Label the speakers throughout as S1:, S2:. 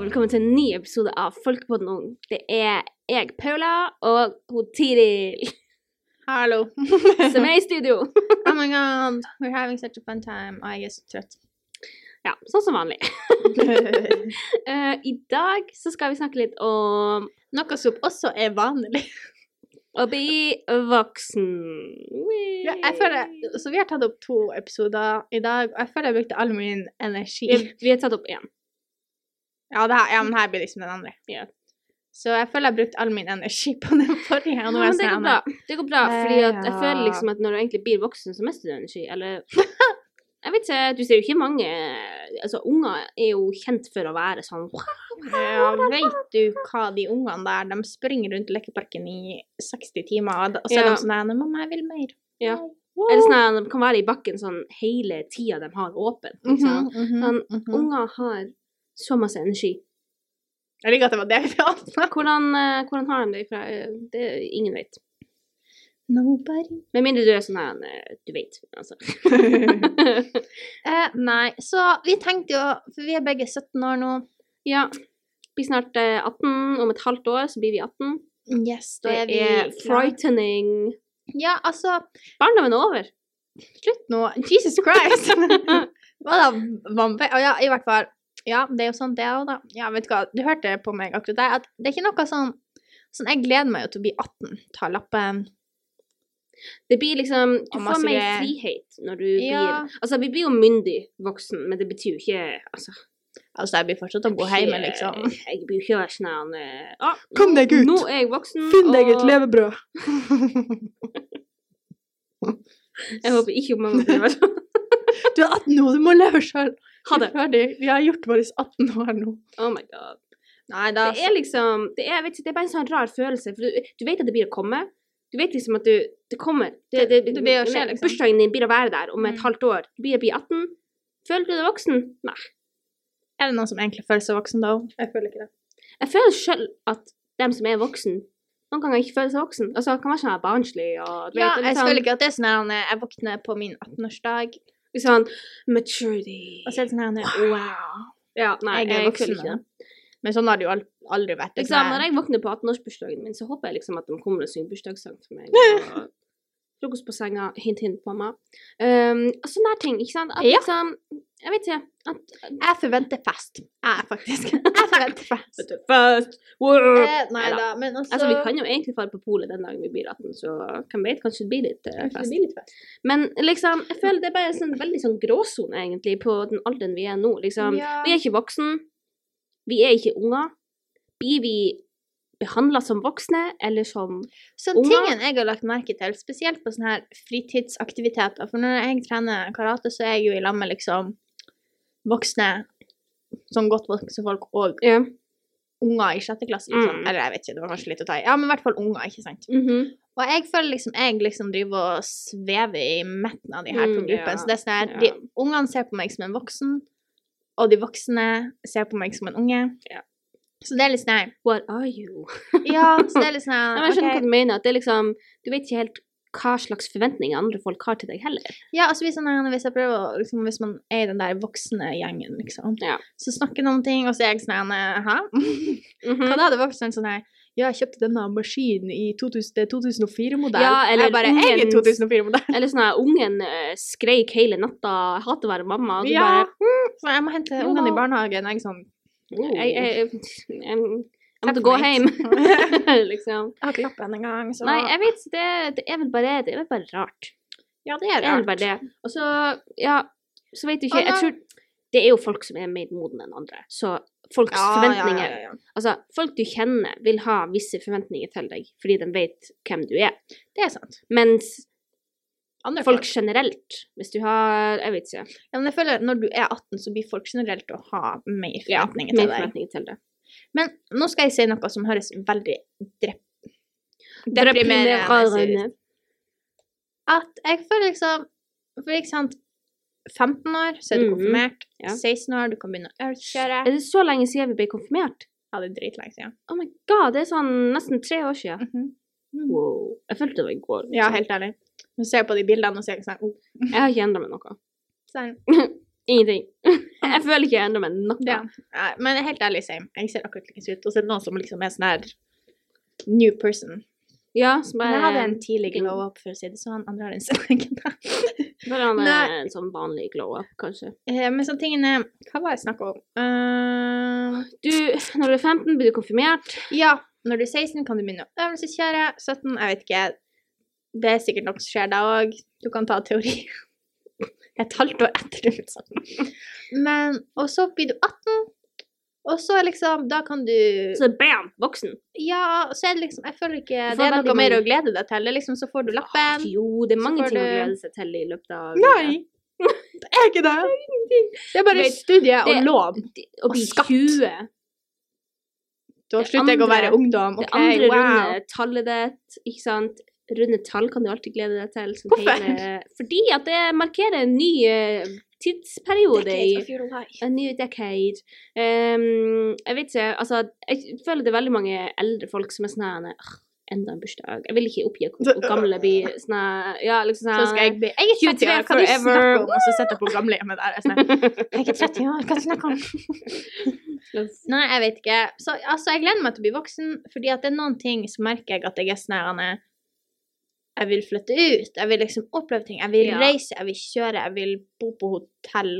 S1: velkommen til en ny episode av Folkepodden Ung. Det er jeg, Paula, og hun Tiril,
S2: Hallo.
S1: som er i studio.
S2: Oh my god, we're having such a fun time. Og jeg er så trøtt.
S1: Ja, sånn som vanlig. Eh, I dag så skal vi snakke litt om
S2: Noe som også er vanlig.
S1: å bli voksen.
S2: Ja, jeg føler, så vi har tatt opp to episoder i dag, og jeg føler jeg brukte all min
S1: vi,
S2: energi.
S1: vi har tatt opp én.
S2: Ja, det her, ja men her blir liksom den andre.
S1: Ja.
S2: Så jeg føler jeg brukte all min energi på den forrige. Og nå er
S1: men
S2: jeg
S1: det går
S2: sånn
S1: bra.
S2: her,
S1: Det går bra, fordi at jeg
S2: Ja.
S1: føler liksom at når du egentlig blir voksen, så mister du energi, eller Jeg vet ikke, du ser jo ikke mange Altså, unger er jo kjent for å være sånn
S2: Ja, vet du hva de ungene der, de springer rundt lekeparken i 60 timer, og da- og så
S1: Ja.
S2: er de sånn her, «Nei, mamma, jeg vil mer.
S1: Ja.
S2: Wow.
S1: Eller sånn at de kan være i bakken sånn hele tida de har åpent.
S2: Mhm,
S1: Liksom.
S2: mhm,
S1: Sånn,
S2: mhm.
S1: Unger har så masse energi.
S2: Jeg liker at det var det vi hadde.
S1: Hvordan, eh, hvordan har de det fra eh, Det ingen vet.
S2: Nobody
S1: Med mindre du er sånn her eh, Du vet, altså.
S2: Eh, nei, så vi tenkte jo For vi er begge 17 år nå.
S1: ja. Blir snart eh, 18. Om et halvt år så blir vi 18.
S2: Yes,
S1: Det er, frightening.
S2: Ja, altså
S1: Barndommen er over.
S2: Slutt nå. Jesus Christ! Hva da? Vampe? Å ja, i hvert fall. Ja, det er jo sånn det òg, da. Ja, vet du hva, du hørte på meg akkurat der, at det er ikke noe sånn Sånn, Jeg gleder meg jo til å bli 18, ta lappen.
S1: Det blir liksom Du
S2: Og
S1: får
S2: masse
S1: mer
S2: greier.
S1: frihet når du
S2: Ja.
S1: blir Altså, vi blir jo myndig voksen, men det betyr jo ikke Altså
S2: Altså, jeg blir fortsatt å bo hjemme, liksom.
S1: Jeg, jeg blir jo ikke sånn her, eh, ah,
S2: Kom deg ut!
S1: Nå er jeg voksen, og
S2: levebrød!
S1: jeg håper ikke mamma blir det.
S2: Du er 18 nå, du må leve sjøl!
S1: Ha det.
S2: Ferdig. Vi har gjort våre 18 år nå.
S1: Oh my god.
S2: Nei da.
S1: Det er liksom det er, vet, ikke, det er bare en sånn rar følelse, for du, du vet at det blir å komme. Du vet liksom at du Det kommer. Det, det,
S2: Det blir å skje, liksom.
S1: Bursdagen din blir å være der om et
S2: Mm.
S1: halvt år. Du blir å bli 18. Føler du deg voksen? Nei.
S2: Er det noen som egentlig føler seg voksen da? Jeg føler ikke det.
S1: Jeg føler sjøl at dem som er voksen, noen ganger ikke føler seg voksen. Altså, kan være sånn her barnslig og du
S2: Ja,
S1: vet,
S2: jeg føler ikke at det er sånn her når jeg våkner på min 18-årsdag,
S1: ikke sånn maturity.
S2: og så er det sånn her når- Wow!
S1: ja, nei,
S2: Jeg er voksen
S1: føler ikke det.
S2: nå. Men sånn har det jo al- aldri vært. Det er
S1: Liksom,
S2: sånn
S1: når
S2: her-
S1: jeg våkner på 18-årsbursdagen min, så håper jeg liksom at de kommer og synger bursdagssang for meg. og Frokost på senga, hint, hint, mamma. Um, og sånne der ting, ikke sant? At
S2: Ja.
S1: liksom Jeg vet ikke. At,
S2: Jeg forventer fest. Jeg, faktisk. Jeg forventer fest.
S1: Eh,
S2: Eh, nei
S1: Neida.
S2: da, men altså,
S1: Altså, vi kan jo egentlig dra på polet den dagen vi blir 18, så hvem vet, kanskje det blir litt eh,
S2: Kanskje det
S1: fest.
S2: blir litt fest.
S1: Men liksom, jeg føler det er bare sånn veldig sånn gråsone, egentlig, på den alderen vi er nå. Liksom,
S2: Ja.
S1: vi er ikke voksen. Vi er ikke unger. Blir vi behandla som voksne, eller som
S2: Så
S1: Unger-
S2: tingen Sånn jeg har lagt merke til, spesielt på sånne her fritidsaktiviteter For når jeg trener karate, så er jeg jo i lag med liksom voksne, som godt voksne folk, og
S1: Ja.
S2: unger i sjette klasse, liksom.
S1: Mm.
S2: Eller jeg vet ikke, det var kanskje litt å ta i. Ja, men i hvert fall unger, ikke sant.
S1: Mhm.
S2: Og jeg føler liksom jeg liksom driver og svever i midten av de her to
S1: Mm,
S2: gruppene.
S1: ja,
S2: Så det er sånn her,
S1: ja.
S2: de ungene ser på meg som en voksen, og de voksne ser på meg som en unge.
S1: Ja.
S2: Så det er litt sånn her
S1: What are you?
S2: Ja, så det er litt sånn
S1: Nei,
S2: her
S1: men jeg skjønner
S2: ok.
S1: hva du mener. At det er liksom, du vet ikke helt hva slags forventninger andre folk har til deg heller.
S2: Ja, altså hvis, sånn her, hvis jeg prøver å liksom, Hvis man er i den der voksne gjengen, liksom,
S1: Ja.
S2: så snakker noen ting, og så er jeg sånn her Hæ? Hva
S1: Hva da?
S2: da? Det var sånn sånn her Ja, jeg kjøpte denne maskinen i 2004-modell.
S1: Ja, eller
S2: jeg bare Jeg er
S1: ungen-
S2: 2004-modell.
S1: Eller sånn at ungen eh, skreik hele natta 'jeg hater å være mamma'. Og du
S2: Ja. Mm,
S1: bare
S2: Så jeg må hente
S1: Jo
S2: ungene
S1: da.
S2: i barnehagen. Jeg er sånn
S1: jeg, jeg, jeg, jeg, jeg måtte
S2: Separate.
S1: gå hjem. liksom.
S2: Jeg har ikke lappen engang, så
S1: Nei, jeg vet det, det er vel bare det. er vel bare rart.
S2: Ja, det
S1: Det er
S2: er
S1: vel
S2: rart.
S1: bare det. Og så, ja, så vet du ikke
S2: Og
S1: Jeg
S2: da-
S1: tror det er jo folk som er mer modne enn andre. Så folks forventninger
S2: Ja, ja, ja.
S1: Altså, folk du kjenner, vil ha visse forventninger til deg fordi de vet hvem du er.
S2: Det er sant.
S1: Mens
S2: Andre
S1: folk
S2: folk.
S1: generelt, hvis du har Jeg vet ikke.
S2: Ja, men jeg føler at Når du er 18, så blir folk generelt å ha mer
S1: Ja,
S2: forventninger
S1: mer
S2: til deg.
S1: forventninger til det.
S2: Men nå skal jeg si noe som høres veldig drep... ut.
S1: Deprimerende.
S2: At jeg føler liksom For ikke sant 15 år, så er du
S1: Mhm,
S2: konfirmert.
S1: ja.
S2: 16 år, du kan begynne å ølkjøre.
S1: Er det så lenge siden vi ble konfirmert?
S2: Ja, det er dritlenge siden.
S1: Oh my god, det er sånn nesten tre år siden.
S2: Mhm.
S1: Wow. Jeg følte det var i går.
S2: Ja,
S1: liksom.
S2: helt ærlig. Nå ser jeg på de bildene og ser sånn oh,
S1: Jeg har ikke endret meg noe.
S2: sånn.
S1: Ingenting. jeg føler ikke jeg endrer meg noe.
S2: Ja. Nei, Men helt ærlig, same. Jeg ser akkurat like ut. Og så er det noen som liksom er sånn her new person.
S1: Ja, så
S2: Men eh, mm.
S1: bare,
S2: jeg hadde en tidlig glow up, for å si det sånn. Andre har en sånn.
S1: bare han er
S2: Nei.
S1: en sånn vanlig glow-up, kanskje.
S2: Eh, Men sånne tingene Hva var det jeg snakka om? Eh,
S1: Du, når du er 15, blir du konfirmert.
S2: ja, når du er 16, kan du begynne å øvelseskjøre. 17, jeg vet ikke. Det er sikkert noe som skjer da òg. Du kan ta teori. Et halvt år etter, liksom. Men Og så blir du 18, og så liksom Da kan du
S1: Så bam, voksen.
S2: Ja, og så er det liksom Jeg føler ikke
S1: Du får
S2: det er
S1: veldig
S2: noe mer
S1: mange-
S2: å glede deg til. Det er liksom, så får du lappen.
S1: Ah, Jo, det er mange
S2: får
S1: ting å
S2: du-
S1: glede seg til i løpet av
S2: Det er ikke det. Det er bare
S1: Vet,
S2: studie og
S1: det-
S2: lån.
S1: Å bli
S2: Og skatt.
S1: 20.
S2: Da
S1: det
S2: slutter jeg å
S1: andre-
S2: være ungdom.
S1: Det
S2: OK,
S1: andre
S2: wow.
S1: runde tallet ditt, ikke sant. Runde tall kan du alltid glede deg til. som
S2: Hvorfor?
S1: hele- Fordi at det markerer en ny eh, tidsperiode i A new decade. Ehm, jeg vet ikke, altså Jeg føler det er veldig mange eldre folk som er sånn her «Åh, Enda en bursdag. Jeg vil ikke oppgi hvor hvor gammel jeg blir. Sånn her Ja, liksom sånn
S2: øh, Så skal jeg bli Jeg er 30 år,
S1: 23
S2: kan du
S1: forever.
S2: snakke om? Og så setter jeg på gamlehjemmet der. Jeg er sånn, jeg er 30 år, hva snakker du om? Nei, jeg vet ikke. Så altså, jeg gleder meg til å bli voksen, fordi at det er noen ting som merker jeg at jeg er snærende. Jeg vil flytte ut, jeg vil liksom oppleve ting, jeg vil
S1: Ja.
S2: reise, jeg vil kjøre, jeg vil bo på hotell.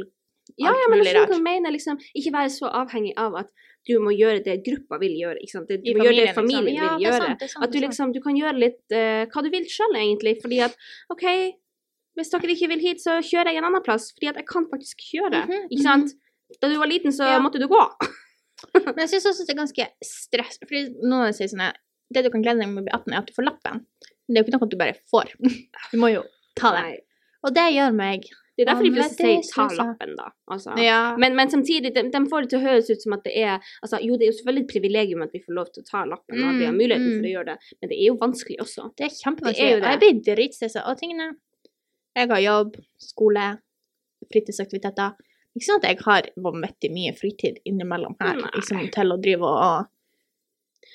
S1: Ja,
S2: alt
S1: ja, men jeg
S2: mulig
S1: skjønner
S2: rart.
S1: hva du mener. Liksom, ikke være så avhengig av at du må gjøre det gruppa vil gjøre. Ikke sant? Det, du
S2: I
S1: må gjøre det
S2: familien,
S1: familien
S2: liksom. Ja,
S1: vil
S2: det er
S1: gjøre.
S2: sant, det er sant,
S1: at du
S2: det er
S1: liksom
S2: sant.
S1: du kan gjøre litt eh, hva du vil sjøl, egentlig. Fordi at OK, hvis dere ikke vil hit, så kjører jeg en annen plass. Fordi at jeg kan faktisk kjøre.
S2: Mhm,
S1: Ikke sant? Da du var liten, så
S2: Ja.
S1: måtte du gå.
S2: Men jeg syns også det er ganske stress. Fordi noen sier sånn her, Det du kan glede deg med å bli 18, er at du får lappen. Men det er jo ikke noe du bare får. Du må jo ta det.
S1: Nei.
S2: Og det gjør meg
S1: Det er derfor de
S2: Ja, men
S1: fleste
S2: det er
S1: sier 'ta
S2: stressa.
S1: lappen', da. Altså.
S2: Ja.
S1: Men, men samtidig, de, de får det til å høres ut som at det er altså, Jo, det er jo selvfølgelig et privilegium at vi får lov til å ta lappen, og at vi har
S2: Mm,
S1: muligheten
S2: mm.
S1: for å gjøre det, men det er jo vanskelig også.
S2: Det
S1: Det er
S2: er
S1: jo
S2: kjempevanskelig.
S1: det.
S2: Og jeg blir dritstressa av tingene. Jeg har jobb, skole, fritidsaktiviteter. Ikke sånn at jeg har vanvittig mye fritid innimellom her
S1: Nei.
S2: liksom, til å drive og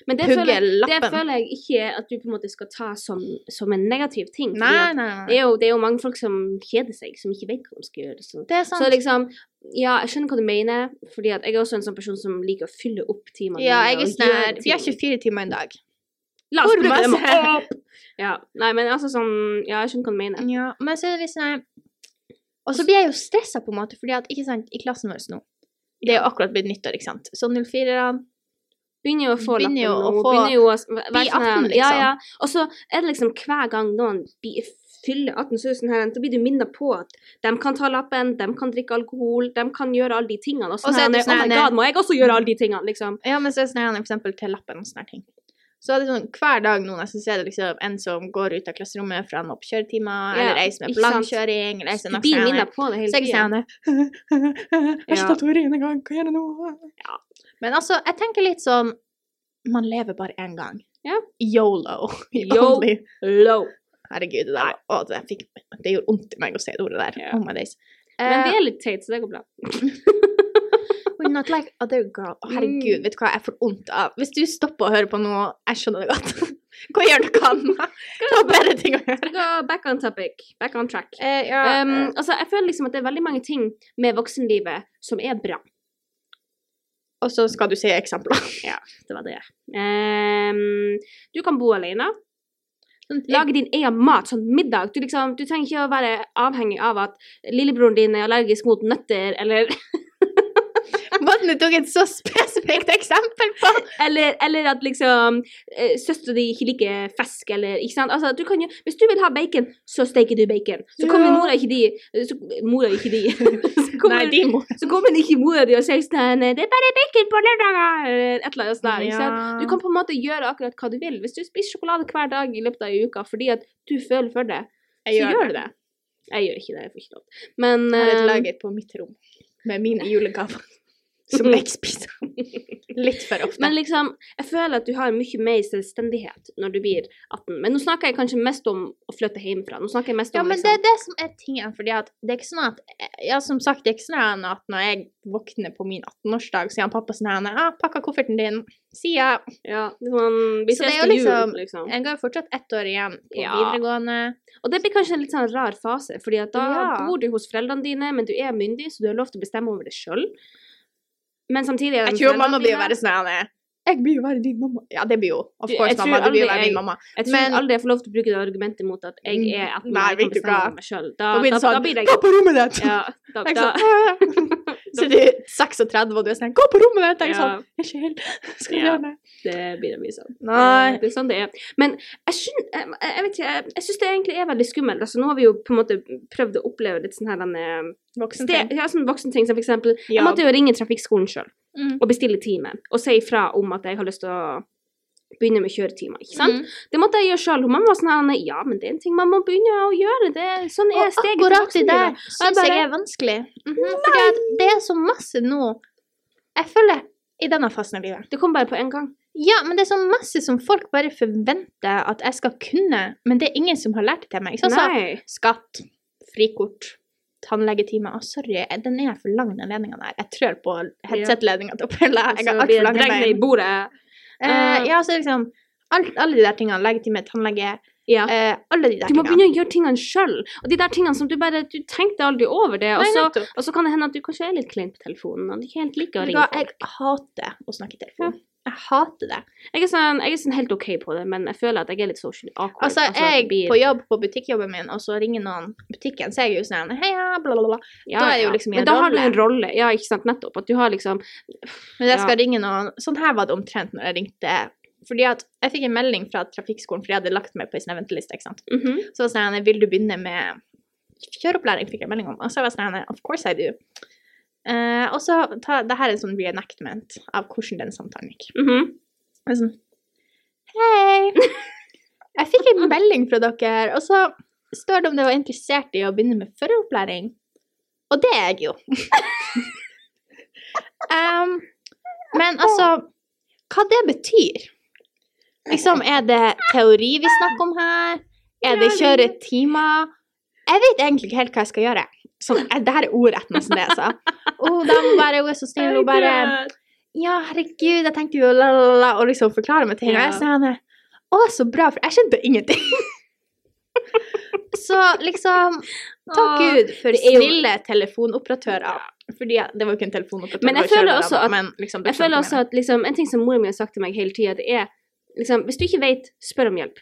S1: Men det
S2: Pugge
S1: føler, jeg, det
S2: lappen.
S1: føler jeg ikke at du på en måte skal ta som, som en negativ ting. fordi
S2: Nei,
S1: at
S2: nei,
S1: Det,
S2: nei.
S1: er jo, det er jo mange folk som kjeder seg, som ikke vet hva de skal gjøre. Så.
S2: Det er
S1: så
S2: sant.
S1: liksom, ja, jeg skjønner hva du mener, fordi at jeg er også en sånn person som liker å fylle opp timene.
S2: Ja,
S1: mine
S2: jeg er
S1: og
S2: sånn
S1: gjøre
S2: her Vi har
S1: ting.
S2: 24 timer en dag.
S1: La oss
S2: for
S1: bruke dem
S2: masse.
S1: opp! Ja, nei, men altså sånn Ja, jeg skjønner hva du mener.
S2: Ja, men så er det litt sånn her Og så blir jeg jo stressa, på en måte, fordi at ikke sant, i klassen vår nå Det er jo akkurat blitt nyttår, ikke sant. Så 04-erne
S1: Begynner jo å få
S2: Begynner jo
S1: lappen
S2: å
S1: nå,
S2: få-
S1: Begynner jo å s- være
S2: bli
S1: sånn her- Ja,
S2: 18, liksom.
S1: ja. Og så er det liksom hver gang noen blir- fyller 18 så er det sånn her, så blir du minnet på at de kan ta lappen, de kan drikke alkohol, de kan gjøre alle de tingene. Og så
S2: Og så er
S1: er
S2: det
S1: det sånn
S2: sånn
S1: her, oh my
S2: her-
S1: god, må jeg også gjøre alle de tingene, liksom.
S2: Ja, men så er det sånn her, for eksempel til lappen og sånne her ting. Så er det sånn, hver dag nå nesten så er det liksom en som går ut av klasserommet for han opp kjøretimer,
S1: Ja,
S2: eller ei som er på
S1: ikke sant.
S2: langkjøring, eller ei som
S1: Du
S2: er
S1: blir
S2: sånn her.
S1: minnet på det hele
S2: Så er jeg
S1: tiden.
S2: sånn her, Jeg har
S1: Ja.
S2: ikke tatt ordet en gang, hva gjør jeg nå?
S1: Ja.
S2: Men altså, jeg tenker litt sånn, man lever bare en gang.
S1: Ja.
S2: YOLO.
S1: Yo-
S2: Only.
S1: Low.
S2: Herregud, det der var, å, det, fikk, det gjorde vondt i meg å si det ordet der.
S1: Ja.
S2: Oh my days.
S1: Men
S2: Eh,
S1: det er litt teit, så det går bra.
S2: We're not like other girl. Å, herregud,
S1: Mm.
S2: vet du hva jeg får vondt av? Hvis du stopper å høre på noe, jeg skjønner det godt. Hva gjør du kan? Det var bedre ting Eh, å gjøre.
S1: Vi går back on topic. Back on track.
S2: ja,
S1: Um, altså, jeg føler liksom at det er veldig mange ting med voksenlivet som er bra.
S2: og så skal du si eksempler.
S1: Det var det. Ehm, du kan bo alene. Lage din egen mat, sånn middag. Du, liksom, du trenger ikke å være avhengig av at lillebroren din er allergisk mot nøtter, eller,
S2: Måten du tok et så spesifikt eksempel på.
S1: eller, eller at liksom eh, søstera di ikke liker fisk, eller ikke sant. Altså, du kan jo, hvis du vil ha bacon, så steker du bacon. Så kommer
S2: Ja.
S1: mora ikke di eh, så, Mora ikke di. så kommer,
S2: Nei, de må.
S1: så kommer ikke mora di og sier sånn «Nei, 'Det er bare bacon på lørdager!' eller et eller annet sånt. der, Ikke sant? Du kan på en måte gjøre akkurat hva du vil. Hvis du spiser sjokolade hver dag i løpet av ei uke fordi at du føler for det,
S2: Jeg
S1: så
S2: gjør
S1: gjør du det. Jeg gjør ikke det, jeg får ikke lov. Men
S2: Jeg har et
S1: eh,
S2: lager på mitt rom med mine julegaver. som jeg spiser. Litt for ofte.
S1: Men liksom, jeg føler at du har mye mer selvstendighet når du blir 18. Men nå snakker jeg kanskje mest om å flytte hjemmefra. Nå snakker jeg mest om liksom
S2: ja, men det er det som er tingen, fordi at det er ikke sånn at Ja, som sagt, det er ikke sånn at når jeg våkner på min 18-årsdag, så er han pappa sånn her Ja, pakka kofferten din. Si ja.
S1: ja, sånn, Vi
S2: Så
S1: ses
S2: det er jo
S1: til jul,
S2: liksom-
S1: liksom.
S2: Jeg går jo fortsatt ett år igjen på
S1: Ja.
S2: videregående.
S1: Og det blir kanskje en litt sånn rar fase, fordi at da
S2: Ja.
S1: bor du hos foreldrene dine, men du er myndig, så du har lov til å bestemme over det sjøl. Men samtidig er
S2: Jeg
S1: de
S2: tror
S1: foreldrene
S2: mamma blir
S1: dine-
S2: jo bare sånn her Anne. Jeg blir jo være din mamma. Ja, det blir jo. Of
S1: Du,
S2: course,
S1: jeg tror
S2: mamma. Du blir jo
S1: aldri
S2: være
S1: jeg-
S2: min mamma.
S1: Jeg tror
S2: Men- Mm,
S1: aldri jeg får lov til å bruke det argumentet mot at jeg er 18
S2: Nei,
S1: og jeg
S2: vet
S1: kan
S2: du
S1: bestemme
S2: hva?
S1: over meg sjøl. Da,
S2: Da blir
S1: da,
S2: det sånn
S1: da blir jeg
S2: Gå på rommet ditt!
S1: ja, da,
S2: Jeg er
S1: da,
S2: sånn, «Æ». Så er du 36, og du er sånn Gå på rommet ditt! Jeg er sånn
S1: ja,
S2: Jeg er ikke helt Skal du
S1: Ja.
S2: gjøre det?
S1: Det blir det mye sånn.
S2: Nei.
S1: Det er sånn det er. Men jeg, skjøn, jeg, jeg vet ikke, jeg, jeg syns det egentlig er vellig skummelt. Altså, nå har vi jo på en måte prøvd å oppleve litt sånn her den, eh,
S2: Voksen
S1: sted, ja, sånn voksenting som for eksempel Jeg
S2: Ja.
S1: måtte jo ringe trafikkskolen sjøl
S2: Mm.
S1: og bestille time og si ifra om at jeg har lyst til å begynne med kjøretimer, ikke sant?
S2: Mm.
S1: Det måtte jeg gjøre sjøl. Mamma var sånn her, «Nei, ja, men det er en ting man må begynne å gjøre. Det, er- sånn er
S2: Og
S1: steget
S2: akkurat det der
S1: jeg
S2: syns jeg
S1: bare-
S2: er vanskelig. Mhm. Fordi at det er så masse nå Jeg føler i denne fasen av livet
S1: Det kom bare på en gang.
S2: Ja, men det er så masse som folk bare forventer at jeg skal kunne, men det er ingen som har lært det til meg. Sånn som
S1: Nei.
S2: skatt, frikort, tannlegetime Å, sorry, jeg- den er for lang, den ledninga der. Jeg trør på headset-ledninga til å pille. Jeg
S1: Så blir
S2: har altfor
S1: det
S2: lange
S1: dregnet i
S2: bein.
S1: bordet.
S2: Eh, ja, så liksom alt, Alle de der tingene. Legetime, tannlege
S1: Ja.
S2: eh, Alle de der
S1: Du må
S2: tingene.
S1: begynne å gjøre tingene sjøl. Og de der tingene som du bare Du tenkte aldri over det. Og
S2: Nei,
S1: så,
S2: nettopp.
S1: og så kan det hende at du kanskje er litt klein på telefonen, og du ikke helt liker å
S2: Vet du
S1: ringe folk.
S2: hva, jeg hater å snakke i telefonen. Jeg hater det.
S1: Jeg er, sånn, jeg er sånn helt OK på det, men jeg føler at jeg er litt social awkward.
S2: Altså,
S1: at det
S2: jeg
S1: blir-
S2: på jobb på butikkjobben min, og så ringer noen butikken, så er jeg jo sånn Heia, bla, bla, bla.
S1: ja,
S2: da er jeg jo
S1: ja.
S2: liksom i
S1: Men
S2: en
S1: da har du
S2: rolle.
S1: en rolle, ja, ikke sant, nettopp. At du har liksom
S2: Men jeg skal ringe noen Sånn her var det omtrent når jeg ringte. Fordi at jeg fikk en melding fra trafikkskolen fordi jeg hadde lagt meg på en sånn venteliste. ikke sant?
S1: mhm.
S2: Så var det sånn Vil du begynne med kjøreopplæring? fikk jeg melding om. Og så var jeg sånn Of course I do. Eh, og så ta, det her er en sånn reenactment av hvordan den samtalen gikk.
S1: Mhm.
S2: Jeg er sånn Hei! Jeg fikk en melding fra dere, og så står det om dere var interessert i å begynne med føreropplæring. Og det er jeg jo. Em, men altså Hva det betyr? Liksom, er det teori vi snakker om her? Er det kjøre timer? Jeg vet egentlig ikke helt hva jeg skal gjøre. Sånn, eh, det her er ordrett nesten det, altså. Oh, da må bare, hun er så snill, hun bare ja, herregud, jeg tenkte jo la, la, la, la, og liksom forklare meg ting. Og
S1: Ja.
S2: jeg sa henne Å, så bra, for jeg skjønte ingenting. så liksom Takk
S1: Åh,
S2: Gud for
S1: det er jo-
S2: snille telefonoperatører. Fordi at- det var jo ikke en telefonoperatør.
S1: Men jeg
S2: det var
S1: føler
S2: kjørebra,
S1: også
S2: da,
S1: at-
S2: men liksom,
S1: Jeg føler også at liksom, En ting som mora mi har sagt til meg hele tida, det er liksom Hvis du ikke vet, spør om hjelp.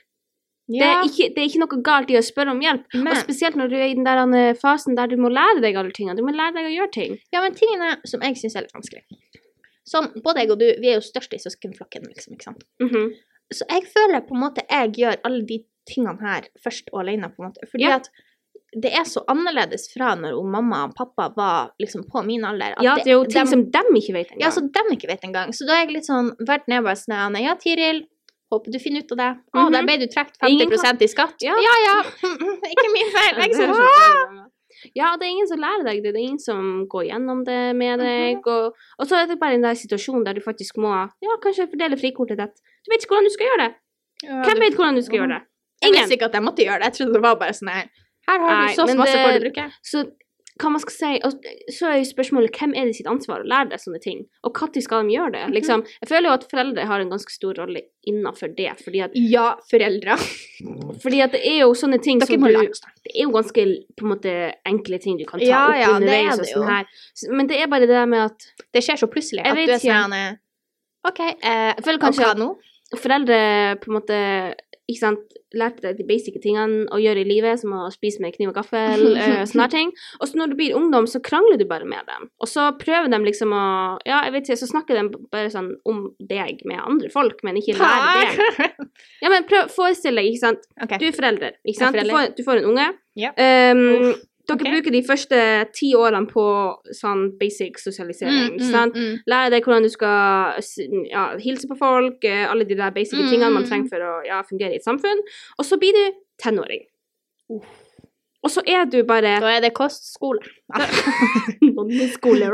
S1: Det, er ikke, det er ikke noe galt i å spørre om hjelp.
S2: men,
S1: Og spesielt når du er i den der eh, fasen der du må lære deg alle tingene. Du må lære deg å gjøre ting.
S2: ja, men tingene som jeg syns er litt vanskelig Som både jeg og du, vi er jo størst i søskenflokken, liksom. ikke sant?
S1: Mhm.
S2: Så jeg føler på en måte jeg gjør alle de tingene her først og alene, på en måte. Fordi
S1: Ja.
S2: at det er så annerledes fra når hun mamma og pappa var liksom på min alder. at
S1: Ja, det er jo ting
S2: dem-
S1: som dem ikke vet engang.
S2: Ja, så dem ikke vet engang. Så da er jeg litt sånn Verden er bare sånn Anne, Ja, Tiril, håper du finner ut av det. Å,
S1: Mhm.
S2: der ble du trukket
S1: Ingen
S2: 50 i skatt.
S1: Ja.
S2: ja. ja. ikke min feil.
S1: Ja,
S2: Jeg
S1: det er
S2: er sånn,
S1: så
S2: «Åh!»
S1: fint. Ja, det er ingen som lærer deg det. Det er ingen som går gjennom det med deg. Og, og så er det bare den der situasjonen der du faktisk må ja, kanskje fordele frikortet ditt. Du vet ikke hvordan du skal gjøre det. Hvem vet hvordan du skal gjøre det? Mhm.
S2: Jeg
S1: Ingen.
S2: visste ikke at jeg måtte gjøre det. Jeg trodde det var bare sånn her Her har du
S1: Nei,
S2: så
S1: men
S2: masse
S1: det-
S2: for å bruke.
S1: Så hva man skal si, og så er jo spørsmålet hvem er det sitt ansvar å lære deg sånne ting? Og når skal de gjøre det? Liksom, jeg føler jo at foreldre har en ganske stor rolle innenfor det. Fordi at,
S2: Ja, foreldre.
S1: fordi at det er jo sånne ting
S2: Dere
S1: som
S2: må
S1: du
S2: lære oss det.
S1: det er jo ganske på en måte, enkle ting du kan ta
S2: Ja,
S1: opp
S2: ja, det er
S1: underveis. og
S2: det
S1: sånn
S2: jo.
S1: her. S- Men det er bare det der med at
S2: Det skjer så plutselig
S1: Jeg
S2: at
S1: vet
S2: du er
S1: ikke.
S2: sånn eh, OK, eh,
S1: Jeg føler
S2: og
S1: kanskje
S2: hva
S1: at
S2: nå?
S1: foreldre på en måte ikke sant, lærte deg de basic tingene å gjøre i livet, som å spise med kniv og gaffel, eh, sånne her ting. Og så når du blir ungdom, så krangler du bare med dem. Og så prøver de liksom å Ja, jeg vet ikke, så snakker de bare sånn om deg med andre folk, men ikke lærer deg. Ja, men prøv, forestill deg, ikke sant.
S2: Ok. Um,
S1: Du er forelder, ikke sant?
S2: Jeg er
S1: Du, får, du får en unge.
S2: Ja.
S1: Ehm, dere
S2: ok.
S1: bruker de første ti årene på sånn basic sosialisering, ikke sant?
S2: Mm, mm.
S1: Lære deg hvordan du skal s- ja, hilse på folk, eh, alle de der basic
S2: Mm,
S1: tingene man
S2: mm,
S1: trenger for å ja, fungere i et samfunn. Og så blir du tenåring. Og så er du bare
S2: Da er det kostskole.
S1: Bondeskole.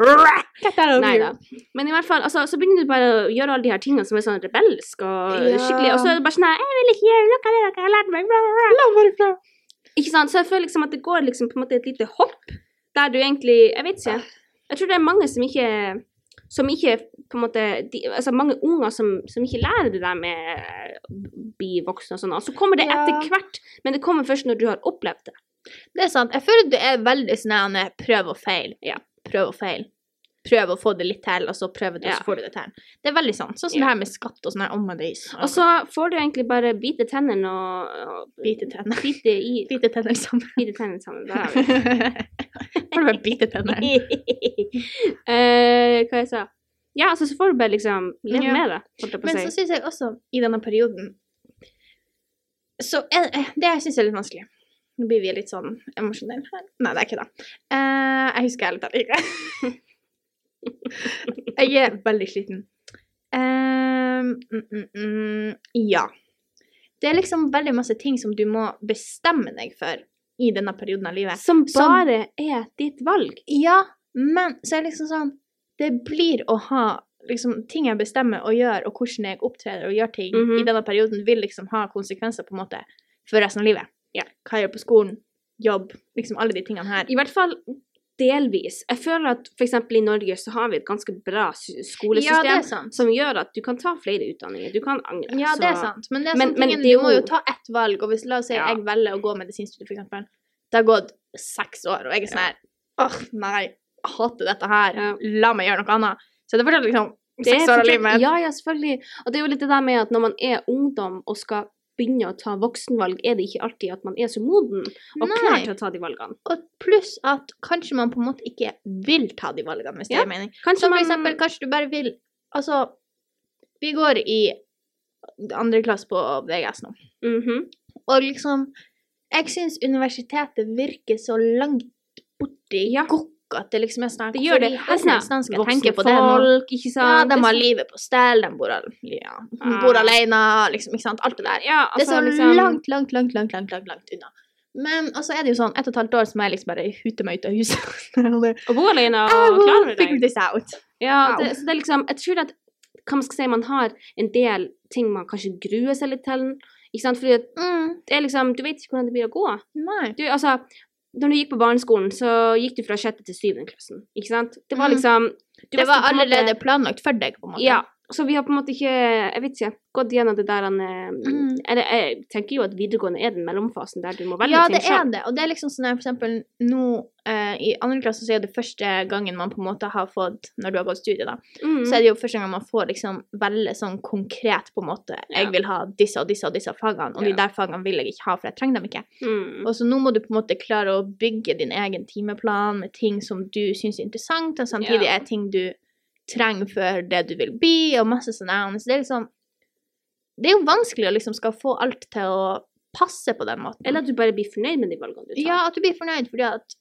S2: Get out of
S1: Nei da.
S2: here.
S1: Men i hvert fall, altså, så begynner du bare å gjøre alle de her tingene som er sånn rebelsk og
S2: Ja.
S1: skikkelig Og så er det bare sånn her, 'Jeg vil ikke gjøre noe av det dere har lært meg.' bla, bla, bla».
S2: La meg ifra.
S1: Ikke sant? Så jeg føler liksom at det går liksom på en måte et lite hopp der du egentlig Jeg vet ikke. Jeg tror det er mange som ikke som ikke på en måte de, Altså mange unger som, som ikke lærer det der med å bli voksen og sånn. Og så kommer det
S2: Ja.
S1: etter hvert, men det kommer først når du har opplevd det.
S2: Det er sant. Jeg føler du er veldig sånn Anne, prøv og feil.
S1: Ja.
S2: Prøv og feil. Prøv å få det litt til, og så prøver du, og
S1: Ja.
S2: så får du det til. Det er veldig sant. Sånn som
S1: Ja.
S2: det her med skatt og sånn her. Oh my days.
S1: Og så får du egentlig bare bite tennene og, og
S2: Bite tenner.
S1: Bite i
S2: Bite tenner sammen.
S1: Bite tennene sammen. Da har vi
S2: Får du bare bite tenner?
S1: Eh, hva jeg sa Ja, altså, så får du bare liksom leve
S2: Ja.
S1: med det, holdt jeg på
S2: Men
S1: å
S2: så
S1: si.
S2: syns jeg også, i denne perioden Så er eh, det jeg syns er litt vanskelig. Nå blir vi litt sånn emosjonelle her. Nei, det er ikke det. Eh, jeg husker ærlig talt ikke. jeg er veldig sliten. Eh, mm, mm, mm, ja. Det er liksom veldig masse ting som du må bestemme deg for i denne perioden av livet.
S1: Som
S2: Som-
S1: bare er ditt valg.
S2: Ja, men så er det liksom sånn Det blir å ha liksom, ting jeg bestemmer og gjør, og hvordan jeg opptrer og gjør ting
S1: Mhm.
S2: i denne perioden, vil liksom ha konsekvenser på en måte for resten av livet.
S1: Ja.
S2: Hva jeg gjør på skolen, jobb, liksom alle de tingene her.
S1: I hvert fall delvis. Jeg føler at f.eks. i Norge så har vi et ganske bra sy-
S2: Ja,
S1: skolesystem
S2: det er sant.
S1: som gjør at du kan ta flere utdanninger. Du kan angre.
S2: Ja,
S1: så-
S2: det er sant. Men det er
S1: Men-
S2: sånn
S1: men
S2: tingen,
S1: det er
S2: du må jo
S1: jo-
S2: ta ett valg, og hvis la oss si
S1: Ja.
S2: jeg velger å gå medisinstudiet, for eksempel, det har gått seks år, og jeg er sånn her Åh, nei, jeg hater dette her.
S1: Ja.
S2: La meg gjøre noe annet. Så det er fortsatt liksom
S1: Det er
S2: seks år av
S1: fortsatt-
S2: livet.
S1: Ja, ja, selvfølgelig. Og det er jo litt det der med at når man er ungdom og skal begynne å ta voksenvalg, er det ikke alltid at man er så moden og klar
S2: Nei.
S1: til å ta de valgene.
S2: Og pluss at kanskje man på en måte ikke vil ta de valgene, hvis det
S1: Ja,
S2: gir mening.
S1: Kanskje
S2: Som for
S1: man
S2: eksempel, kanskje du bare vil Altså, vi går i andre klasse på VGS nå,
S1: Mhm.
S2: og liksom Jeg syns universitetet virker så langt borti
S1: Ja.
S2: gokk at det liksom er sånn
S1: Det gjør det.
S2: Hvorfor i helvete skal jeg tenke på det nå?
S1: folk, ikke
S2: Ja,
S1: sant?
S2: de
S1: Det er
S2: har
S1: så-
S2: livet på stell, de bor, al- ja, de bor
S1: Liksom- Ah.
S2: alene, liksom, ikke sant? Alt det der.
S1: Ja,
S2: Det er
S1: altså,
S2: så
S1: liksom-
S2: langt, langt, langt, langt, langt, langt, langt unna. Men altså er det jo sånn, ett og et halvt år som jeg liksom bare huter meg ut av huset. Sånn,
S1: Å bo alene og
S2: I
S1: klare
S2: will
S1: med
S2: figure
S1: deg.
S2: this out.
S1: Ja,
S2: Wow.
S1: det, så det er liksom Jeg tror at hva man skal si, man har en del ting man kanskje gruer seg litt til. Ikke sant? Fordi at
S2: Mm,
S1: det er liksom Du vet ikke hvordan det blir å gå.
S2: nei.
S1: Du, altså Når du gikk på barneskolen, så gikk du fra sjette til syvende klassen, ikke sant? Det var
S2: Mhm.
S1: liksom du
S2: Det
S1: visste
S2: var
S1: på en måte-
S2: allerede planlagt for deg, på en måte.
S1: Ja. Så vi har på en måte ikke Jeg vet ikke. Gått gjennom det der han eh,
S2: Mm.
S1: eller, Jeg tenker jo at videregående er den mellomfasen der du må velge
S2: Ja,
S1: ting
S2: det er
S1: selv.
S2: det. Og det er liksom sånn her, for eksempel nå eh, i andre klasse så er det første gangen man på en måte har fått, når du har gått studie da,
S1: Mm.
S2: så er det jo første gang man får liksom velge sånn konkret på en måte, jeg
S1: Ja.
S2: vil ha disse og disse og disse fagene, og de
S1: Ja.
S2: der fagene vil jeg ikke ha, for jeg trenger dem ikke.
S1: mm.
S2: Og så nå må du på en måte klare å bygge din egen timeplan med ting som du syns er interessant, og samtidig
S1: Ja.
S2: er ting du trenger for det du vil bli, og masse sånn her. Så det er liksom Det er jo vanskelig å liksom skal få alt til å passe på den måten.
S1: Eller at du bare blir fornøyd med de valgene du tar.
S2: ja, at du blir fornøyd, fordi at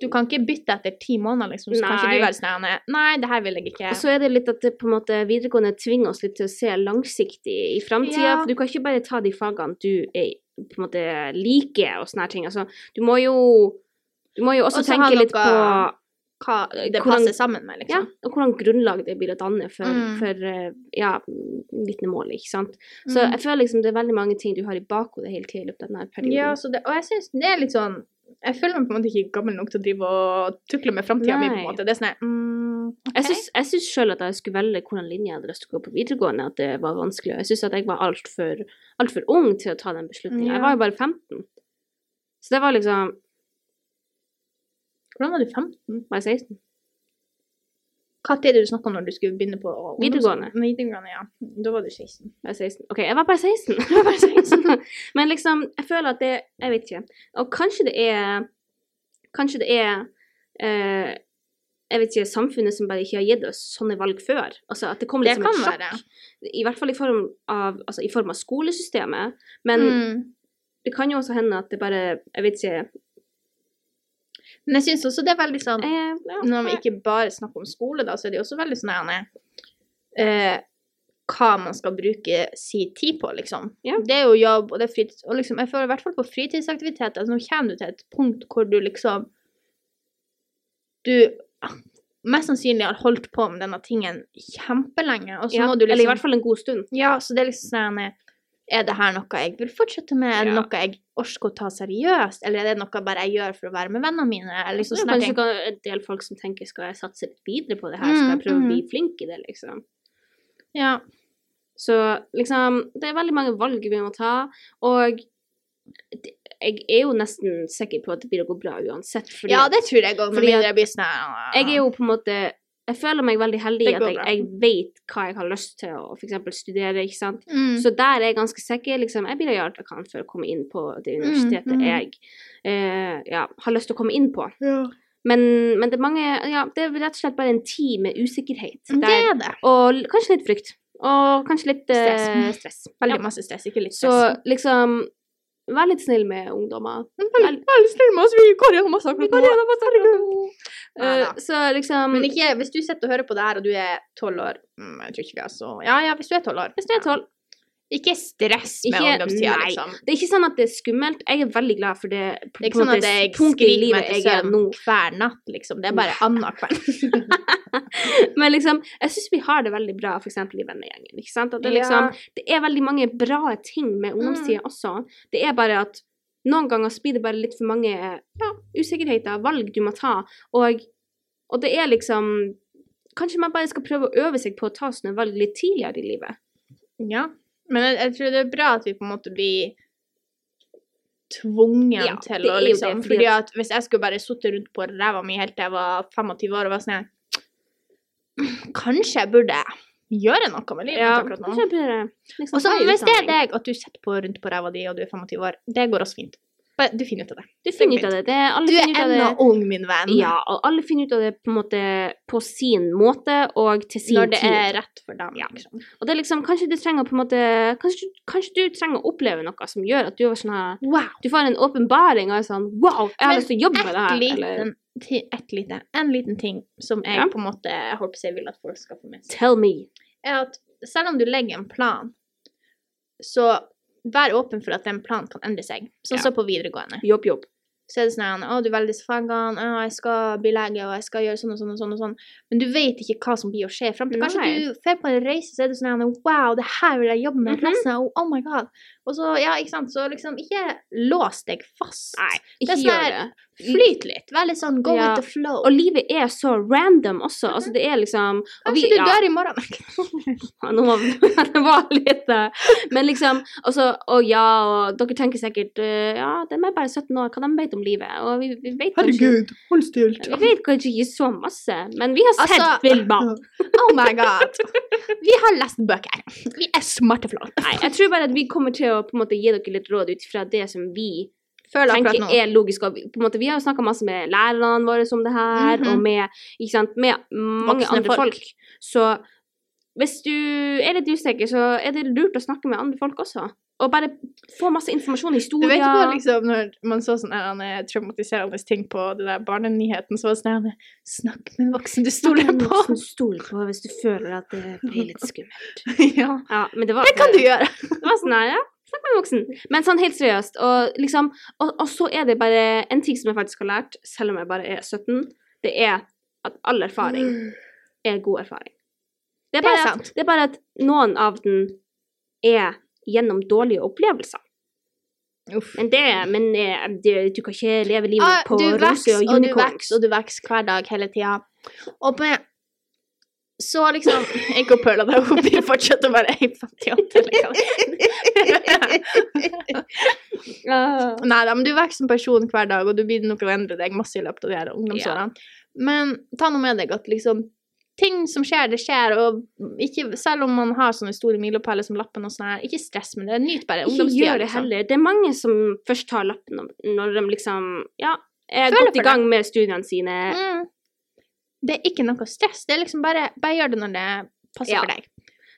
S2: du kan ikke bytte etter ti måneder, liksom. Så kanskje
S1: Nei.
S2: du er sånn her, Nei, det her vil jeg ikke.
S1: Og så er det litt at det, på en måte, videregående tvinger oss litt til å se langsiktig i framtida.
S2: Ja.
S1: For du kan ikke bare ta de fagene du er, på en måte liker og sånne her ting. Altså, du må jo du må jo også
S2: Også ha
S1: tenke litt
S2: noe-
S1: på
S2: Hva det
S1: Hvordan-
S2: passer sammen med,
S1: ja,
S2: liksom.
S1: og hvordan grunnlag det blir å danne for,
S2: Mm.
S1: for eh, ja, vitnemålet, ikke sant. Så
S2: Mm.
S1: jeg føler liksom det er veldig mange ting du har i bakhodet hele tida i løpet av denne perioden.
S2: Ja, så det, og jeg syns det er litt sånn Jeg føler meg på en måte ikke gammel nok til å drive og tukle med framtida mi, på en
S1: Nei.
S2: måte. Det er sånn her, mm,
S1: Jeg
S2: ok.
S1: syns- Jeg syns sjøl at jeg skulle velge hvilken linje jeg hadde lyst til å gå på videregående, at det var vanskelig. Og jeg syns at jeg var altfor alt for ung til å ta den beslutninga. Jeg
S2: Ja.
S1: var jo bare 15. Så det var liksom hm,
S2: Hvordan var du 15?
S1: Var jeg 16?
S2: Hva tid er det du snakka om når du skulle begynne på ungdoms-
S1: Videregående.
S2: Videregående, ja. Da var du 16.
S1: Var jeg 16? OK, jeg var bare 16. Men liksom, jeg føler at det Jeg vet ikke. Og kanskje det er Kanskje det er eh, jeg vet ikke, samfunnet som bare ikke har gitt oss sånne valg før. Altså at det kommer litt
S2: Det
S1: som et
S2: kan
S1: sjokk. I hvert fall i form av, altså, i form av skolesystemet. Men
S2: mm.
S1: det kan jo også hende at det bare Jeg vet ikke.
S2: Men jeg syns også det er veldig sånn
S1: Eh, ja,
S2: Når vi ikke bare snakker om skole, da, så er det jo også veldig sånn her Anne, eh, hva man skal bruke si tid på, liksom.
S1: Ja.
S2: Det er jo jobb, og det er fritids... Og liksom, jeg føler i hvert fall på fritidsaktiviteter, altså nå kommer du til et punkt hvor du liksom Du ah, mest sannsynlig har holdt på med denne tingen kjempelenge, og så
S1: Ja,
S2: må du
S1: Eller i
S2: liksom
S1: hvert fall en god stund.
S2: Ja, så det er liksom sånn her, Er det her noe jeg vil fortsette med? Er det
S1: Ja.
S2: noe jeg orker å ta seriøst? Eller er det noe bare jeg gjør for å være med vennene mine? Eller
S1: Så
S2: liksom
S1: det er
S2: sånne
S1: kanskje
S2: ting.
S1: kan- en del folk som tenker skal jeg satse litt videre på det her, skal jeg
S2: Mm,
S1: prøve
S2: mm.
S1: å bli flink i det, liksom.
S2: Ja.
S1: Så liksom, det er veldig mange valg vi må ta, og det- jeg er jo nesten sikker på at det blir å gå bra uansett, fordi
S2: ja, det tror jeg òg, med
S1: fordi at-
S2: mindre jeg blir sånn her,
S1: jeg er jo på en måte Jeg føler meg veldig heldig i
S2: Det
S1: at
S2: går
S1: jeg,
S2: bra.
S1: jeg vet hva jeg har lyst til å for eksempel studere, ikke sant.
S2: mm.
S1: Så der er jeg ganske sikker. Liksom, jeg ville gjort hva jeg kan for å komme inn på det universitetet
S2: mm.
S1: jeg eh, ja, har lyst til å komme inn på.
S2: ja.
S1: Men, men det er mange Ja, det er rett og slett bare en tid med usikkerhet.
S2: Det
S1: Der,
S2: er Mm, det.
S1: og l- kanskje litt frykt. Og kanskje litt eh,
S2: Stress.
S1: stress.
S2: Veldig
S1: Ja.
S2: masse stress, ikke litt
S1: Så
S2: stress.
S1: liksom Vær litt snill med ungdommer.
S2: Veldig, veldig snill med oss. Vi går gjennom masse
S1: Vi går gjennom masse alkohol. Eh,
S2: Neida.
S1: Så liksom
S2: Men ikke, hvis du sitter og hører på det her, og du er tolv år mm, Jeg tror ikke vi har så Ja, ja, hvis du er tolv år.
S1: Hvis du er tolv
S2: Ikke stress med
S1: Ikke-
S2: ungdomstida,
S1: nei.
S2: liksom.
S1: Det er ikke sånn at det er skummelt. Jeg er veldig glad for det
S2: Det er ikke sånn at jeg skriker meg til søvn
S1: nå.
S2: hver natt, liksom. Det er bare annenhver
S1: Men liksom, jeg syns vi har det veldig bra for eksempel i vennegjengen. ikke sant? At det, liksom, det er veldig mange bra ting med
S2: Mm.
S1: ungdomstida også. Det er bare at noen ganger så blir det bare litt for mange ja, usikkerheter, valg du må ta. Og, og det er liksom Kanskje man bare skal prøve å øve seg på å ta sånne valg litt tidligere i livet.
S2: Ja. Men jeg, jeg tror det er bra at vi på en måte blir tvungen
S1: Ja, det
S2: til
S1: er
S2: å
S1: jo det,
S2: liksom
S1: fordi
S2: Fordi
S1: at-
S2: at hvis jeg skulle bare sittet rundt på ræva mi helt til jeg var 25 år og var sånn her, Kanskje jeg burde gjøre noe med livet mitt akkurat nå.
S1: kanskje jeg burde liksom
S2: Og så
S1: ta en
S2: hvis det er
S1: utdanning.
S2: deg at du sitter på rundt på ræva di og du er 25 år, det går også fint. Bare du finner ut av det.
S1: Du finner ut av det. det er, alle
S2: Du er
S1: finner ut av det.
S2: ennå ung, min venn.
S1: Ja, og alle finner ut av det på, en måte, på sin måte og til sin
S2: Når det
S1: tid.
S2: er rett for dem.
S1: Ja.
S2: Liksom.
S1: Og det er liksom, kanskje du trenger på en måte Kanskje, du- kanskje du trenger å oppleve noe som gjør at du er sånn her
S2: Wow.
S1: Du får en åpenbaring og er sånn Wow, jeg har
S2: Men
S1: lyst til å jobbe med det Sånn
S2: Et
S1: her. Eller
S2: liten, ti- et lite, en liten ting som jeg
S1: Ja.
S2: på en måte jeg håper jeg vil at folk skal få med seg,
S1: Tell me.
S2: er at selv om du legger en plan, så vær åpen for at den planen kan endre seg. Sånn
S1: Ja.
S2: som på videregående.
S1: Jobb, jobb.
S2: Så er det sånn her, å, du velger disse fagene, å, jeg skal bli lege, og jeg skal gjøre sånn og sånn og sånn, og sånn. men du vet ikke hva som blir å skje frem til. Kanskje
S1: Nei.
S2: du drar på en reise, så er det sånn her, wow, det her vil jeg jobbe med
S1: Mhm.
S2: resten av, oh my god. Og så, ja, ikke sant, så liksom ikke lås deg fast.
S1: Nei,
S2: er
S1: ikke
S2: sånn
S1: gjør
S2: her-
S1: det.
S2: Flyt litt, vær litt sånn, go
S1: Ja.
S2: with the flow.
S1: Og livet er så random også. Altså, det er liksom og
S2: Kanskje
S1: vi-
S2: du
S1: ja,
S2: dør i morgen.
S1: Ja, Nå må det var litt eh, Men liksom Og så Å ja, og dere tenker sikkert eh, Ja, de er bare 17 år, hva de vet om livet? Og vi, vi vet kanskje
S2: hold stilt.
S1: Vi vet kanskje ikke så masse, men vi har sett
S2: Altså,
S1: filmer.
S2: Oh my god. Vi har lest bøker. Vi er smarte flott.
S1: Nei, jeg tror bare at vi kommer til å på en måte gi dere litt råd ut fra det som vi
S2: Føler akkurat
S1: tenker
S2: nå.
S1: er logisk. Og vi- på en måte, vi har jo snakka masse med lærerne våre om det her,
S2: Mhm.
S1: og med, ikke sant, med mange
S2: Voksne
S1: andre folk.
S2: folk.
S1: Så hvis du er litt usikker, så er det lurt å snakke med andre folk også. Og bare få masse informasjon,
S2: Du vet
S1: historier.
S2: på, liksom, når man så sånne her, eh, traumatiserende ting på det der barnenyheten, så var det sånn her, Snakk med en voksen du
S1: Stol
S2: stoler på.
S1: på. Stol på hvis du føler at det blir litt skummelt.
S2: ja.
S1: Ja, men det var
S2: Det kan du gjøre.
S1: Det var sånn, her, ja. Snakk med en voksen. Men sånn helt seriøst. Og, liksom, og, og så er det bare en ting som jeg faktisk har lært, selv om jeg bare er 17, det er at all erfaring er god erfaring. Det er
S2: Det er
S1: bare, at,
S2: sant.
S1: det er bare at noen av den er gjennom dårlige opplevelser.
S2: Uff.
S1: Men det, men eh, det, du kan ikke leve livet
S2: Ah,
S1: på
S2: du
S1: roser
S2: vokser
S1: og
S2: og du
S1: unicorns.
S2: vokser og du vokser hver dag hele tida. Og på Så liksom Ikke å pøle deg opp i fortsatt å være ei fattigante, liksom.
S1: Ah.
S2: Nei da, men du vokser som person hver dag, og du blir nok å endre deg masse i løpet av de her ungdomsårene. Men ta nå med deg at liksom Ting som skjer, det skjer, og ikke, selv om man har sånne store milepæler som lappen og sånn her, ikke stress med det. Nyt bare
S1: Ikke
S2: ungdomstida.
S1: gjør det
S2: Liksom.
S1: heller. Det er mange som først tar lappen når- når de liksom ja, er
S2: Føler
S1: godt i
S2: for det.
S1: gang med studiene sine.
S2: Mm. Det er ikke noe stress. Det er liksom bare, bare gjør det når det passer
S1: Ja.
S2: for deg.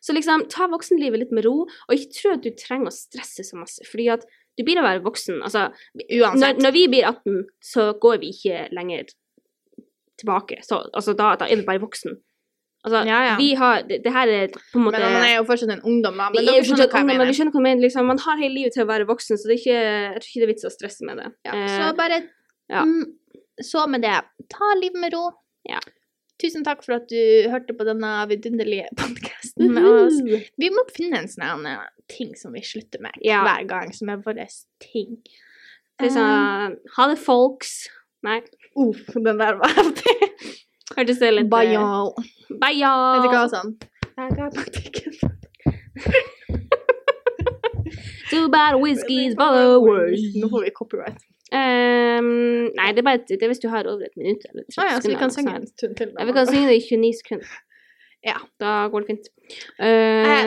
S1: Så liksom, ta voksenlivet litt med ro, og ikke tro at du trenger å stresse så masse. Fordi at du blir å være voksen. Altså, når,
S2: Uansett.
S1: når vi blir 18, så går vi ikke lenger tilbake. Så, altså, da, da er du bare voksen. Altså,
S2: Ja, ja.
S1: vi har Det, det her er på en måte
S2: Men man er jo fortsatt en ungdom, da.
S1: vi
S2: Men
S1: er jo
S2: dere skjønner
S1: fortsatt
S2: hva jeg
S1: ungdom, men vi
S2: mener.
S1: skjønner hva jeg mener. Liksom, man har hele livet til å være voksen, så det er ikke, jeg tror ikke det er vits å stresse med det.
S2: Ja,
S1: Eh,
S2: så bare
S1: ja.
S2: mm, Så med det, ta livet med ro.
S1: Ja.
S2: Tusen takk for at du hørte på denne vidunderlige podkasten med oss.
S1: altså,
S2: Vi må finne en sånn her, eh, ting som vi slutter med
S1: Ja.
S2: hver gang, som er vår ting.
S1: Det er sånn, ha det, folks. Nei,
S2: Eh, uff, den der var heftig.
S1: hørtes det litt eh,
S2: Bye, y'all.
S1: Bye, y'all.
S2: Vet du hva, sånn. Jeg har taktikken.
S1: Too bad whiskey's followers.
S2: Nå får vi copyright.
S1: Um, nei, det er bare det er hvis du har over et minutt. Eller
S2: Å ja, så vi
S1: sekunder, eller
S2: kan synge
S1: noe
S2: en
S1: sånt.
S2: stund til. da.
S1: Ja, vi kan synge det i 29 sekunder.
S2: Ja.
S1: Da går det fint. Um,
S2: Eh,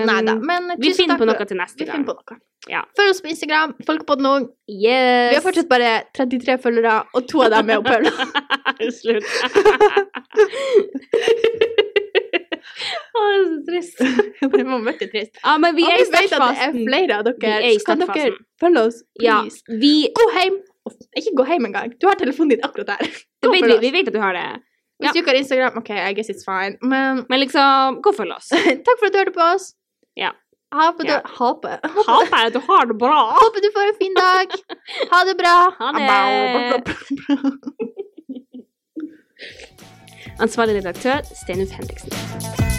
S2: nei da, men
S1: Vi
S2: tusen
S1: finner på
S2: takk for-
S1: noe til neste
S2: Vi
S1: gang.
S2: finner på noe.
S1: Ja.
S2: Følg oss på Instagram. Folkepodden òg.
S1: Yes!
S2: Vi har fortsatt bare 33 følgere, og to av dem er jo Paula.
S1: Slutt. Å, det er så trist.
S2: det var veldig trist.
S1: Ja, men vi
S2: og
S1: er i
S2: vi vet at det er
S1: startfasen.
S2: flere av
S1: Vi
S2: dere,
S1: er i
S2: så kan dere
S1: startfasen.
S2: følge oss,
S1: Ja,
S2: please.
S1: vi,
S2: Gå hjem! Ikke gå hjem engang. Du har telefonen din akkurat der.
S1: det
S2: Gå
S1: vet,
S2: følg
S1: vi,
S2: oss.
S1: vi vet at du har det.
S2: Hvis du ikke har Instagram, OK, I guess it's fine. Men
S1: Men liksom, gå og følg oss.
S2: takk for at du hørte på oss.
S1: Ja.
S2: Ha på
S1: Ja.
S2: dø- ha på-
S1: Håper jeg at du har det bra.
S2: Håper du får en fin dag. Ha det bra.
S1: Ha det. Ansvarlig redaktør, Steinulf Henriksen.